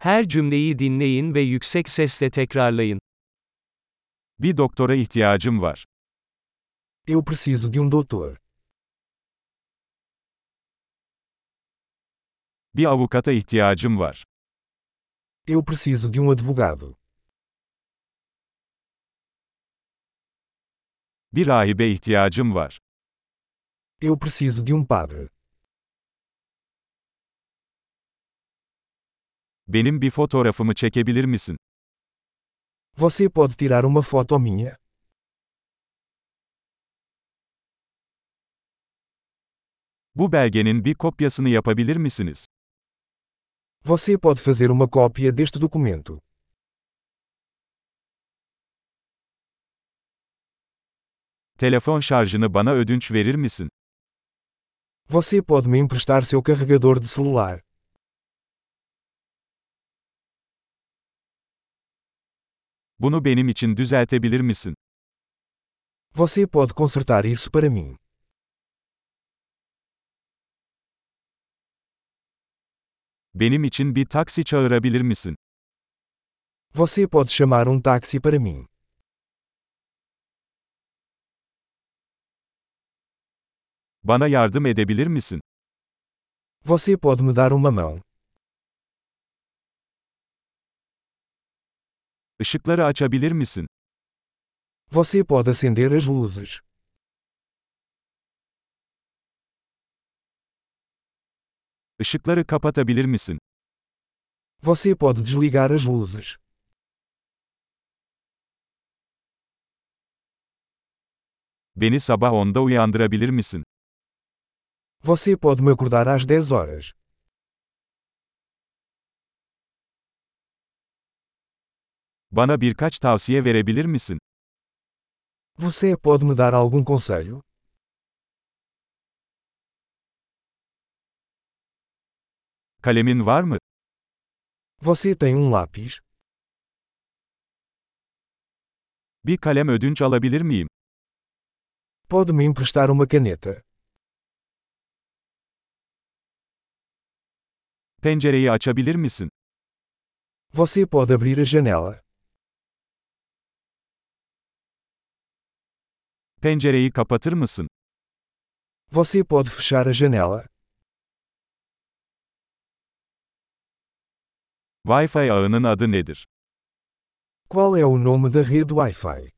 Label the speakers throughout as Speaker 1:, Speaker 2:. Speaker 1: Her cümleyi dinleyin ve yüksek sesle tekrarlayın.
Speaker 2: Bir doktora ihtiyacım var.
Speaker 3: Eu preciso de um doutor.
Speaker 2: Bir avukata ihtiyacım var.
Speaker 3: Eu preciso de um advogado.
Speaker 2: Bir rahibe ihtiyacım var.
Speaker 3: Eu preciso de um padre.
Speaker 2: Benim bir fotoğrafımı çekebilir misin?
Speaker 3: Você pode tirar uma foto minha?
Speaker 2: Bu belgenin bir kopyasını yapabilir misiniz?
Speaker 3: Você pode fazer uma cópia deste documento.
Speaker 2: Telefon şarjını bana ödünç verir misin?
Speaker 3: Você pode me emprestar seu carregador de celular.
Speaker 2: Bunu benim için düzeltebilir misin?
Speaker 3: Você pode consertar isso para mim.
Speaker 2: Benim için bir taksi çağırabilir misin?
Speaker 3: Você pode chamar um táxi para mim.
Speaker 2: Bana yardım edebilir misin?
Speaker 3: Você pode me dar uma mão.
Speaker 2: Işıkları açabilir misin?
Speaker 3: Você pode acender as luzes.
Speaker 2: Işıkları kapatabilir misin?
Speaker 3: Você pode desligar as luzes.
Speaker 2: Beni sabah 10'da uyandırabilir misin?
Speaker 3: Você pode me acordar às 10 horas.
Speaker 2: Bana birkaç tavsiye verebilir misin?
Speaker 3: Você pode me dar algum conselho?
Speaker 2: Kalemin var mı?
Speaker 3: Você tem um lápis?
Speaker 2: Bir kalem ödünç alabilir miyim?
Speaker 3: Pode me emprestar uma caneta?
Speaker 2: Pencereyi açabilir misin?
Speaker 3: Você pode abrir a janela?
Speaker 2: Pencereyi kapatır mısın?
Speaker 3: Você pode fechar a janela?
Speaker 2: Wi-Fi ağının adı nedir?
Speaker 3: Qual é o nome da rede Wi-Fi?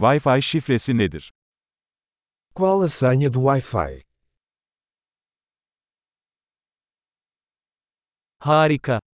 Speaker 2: Wi-Fi şifresi nedir?
Speaker 3: Qual a senha do Wi-Fi?
Speaker 1: Harika.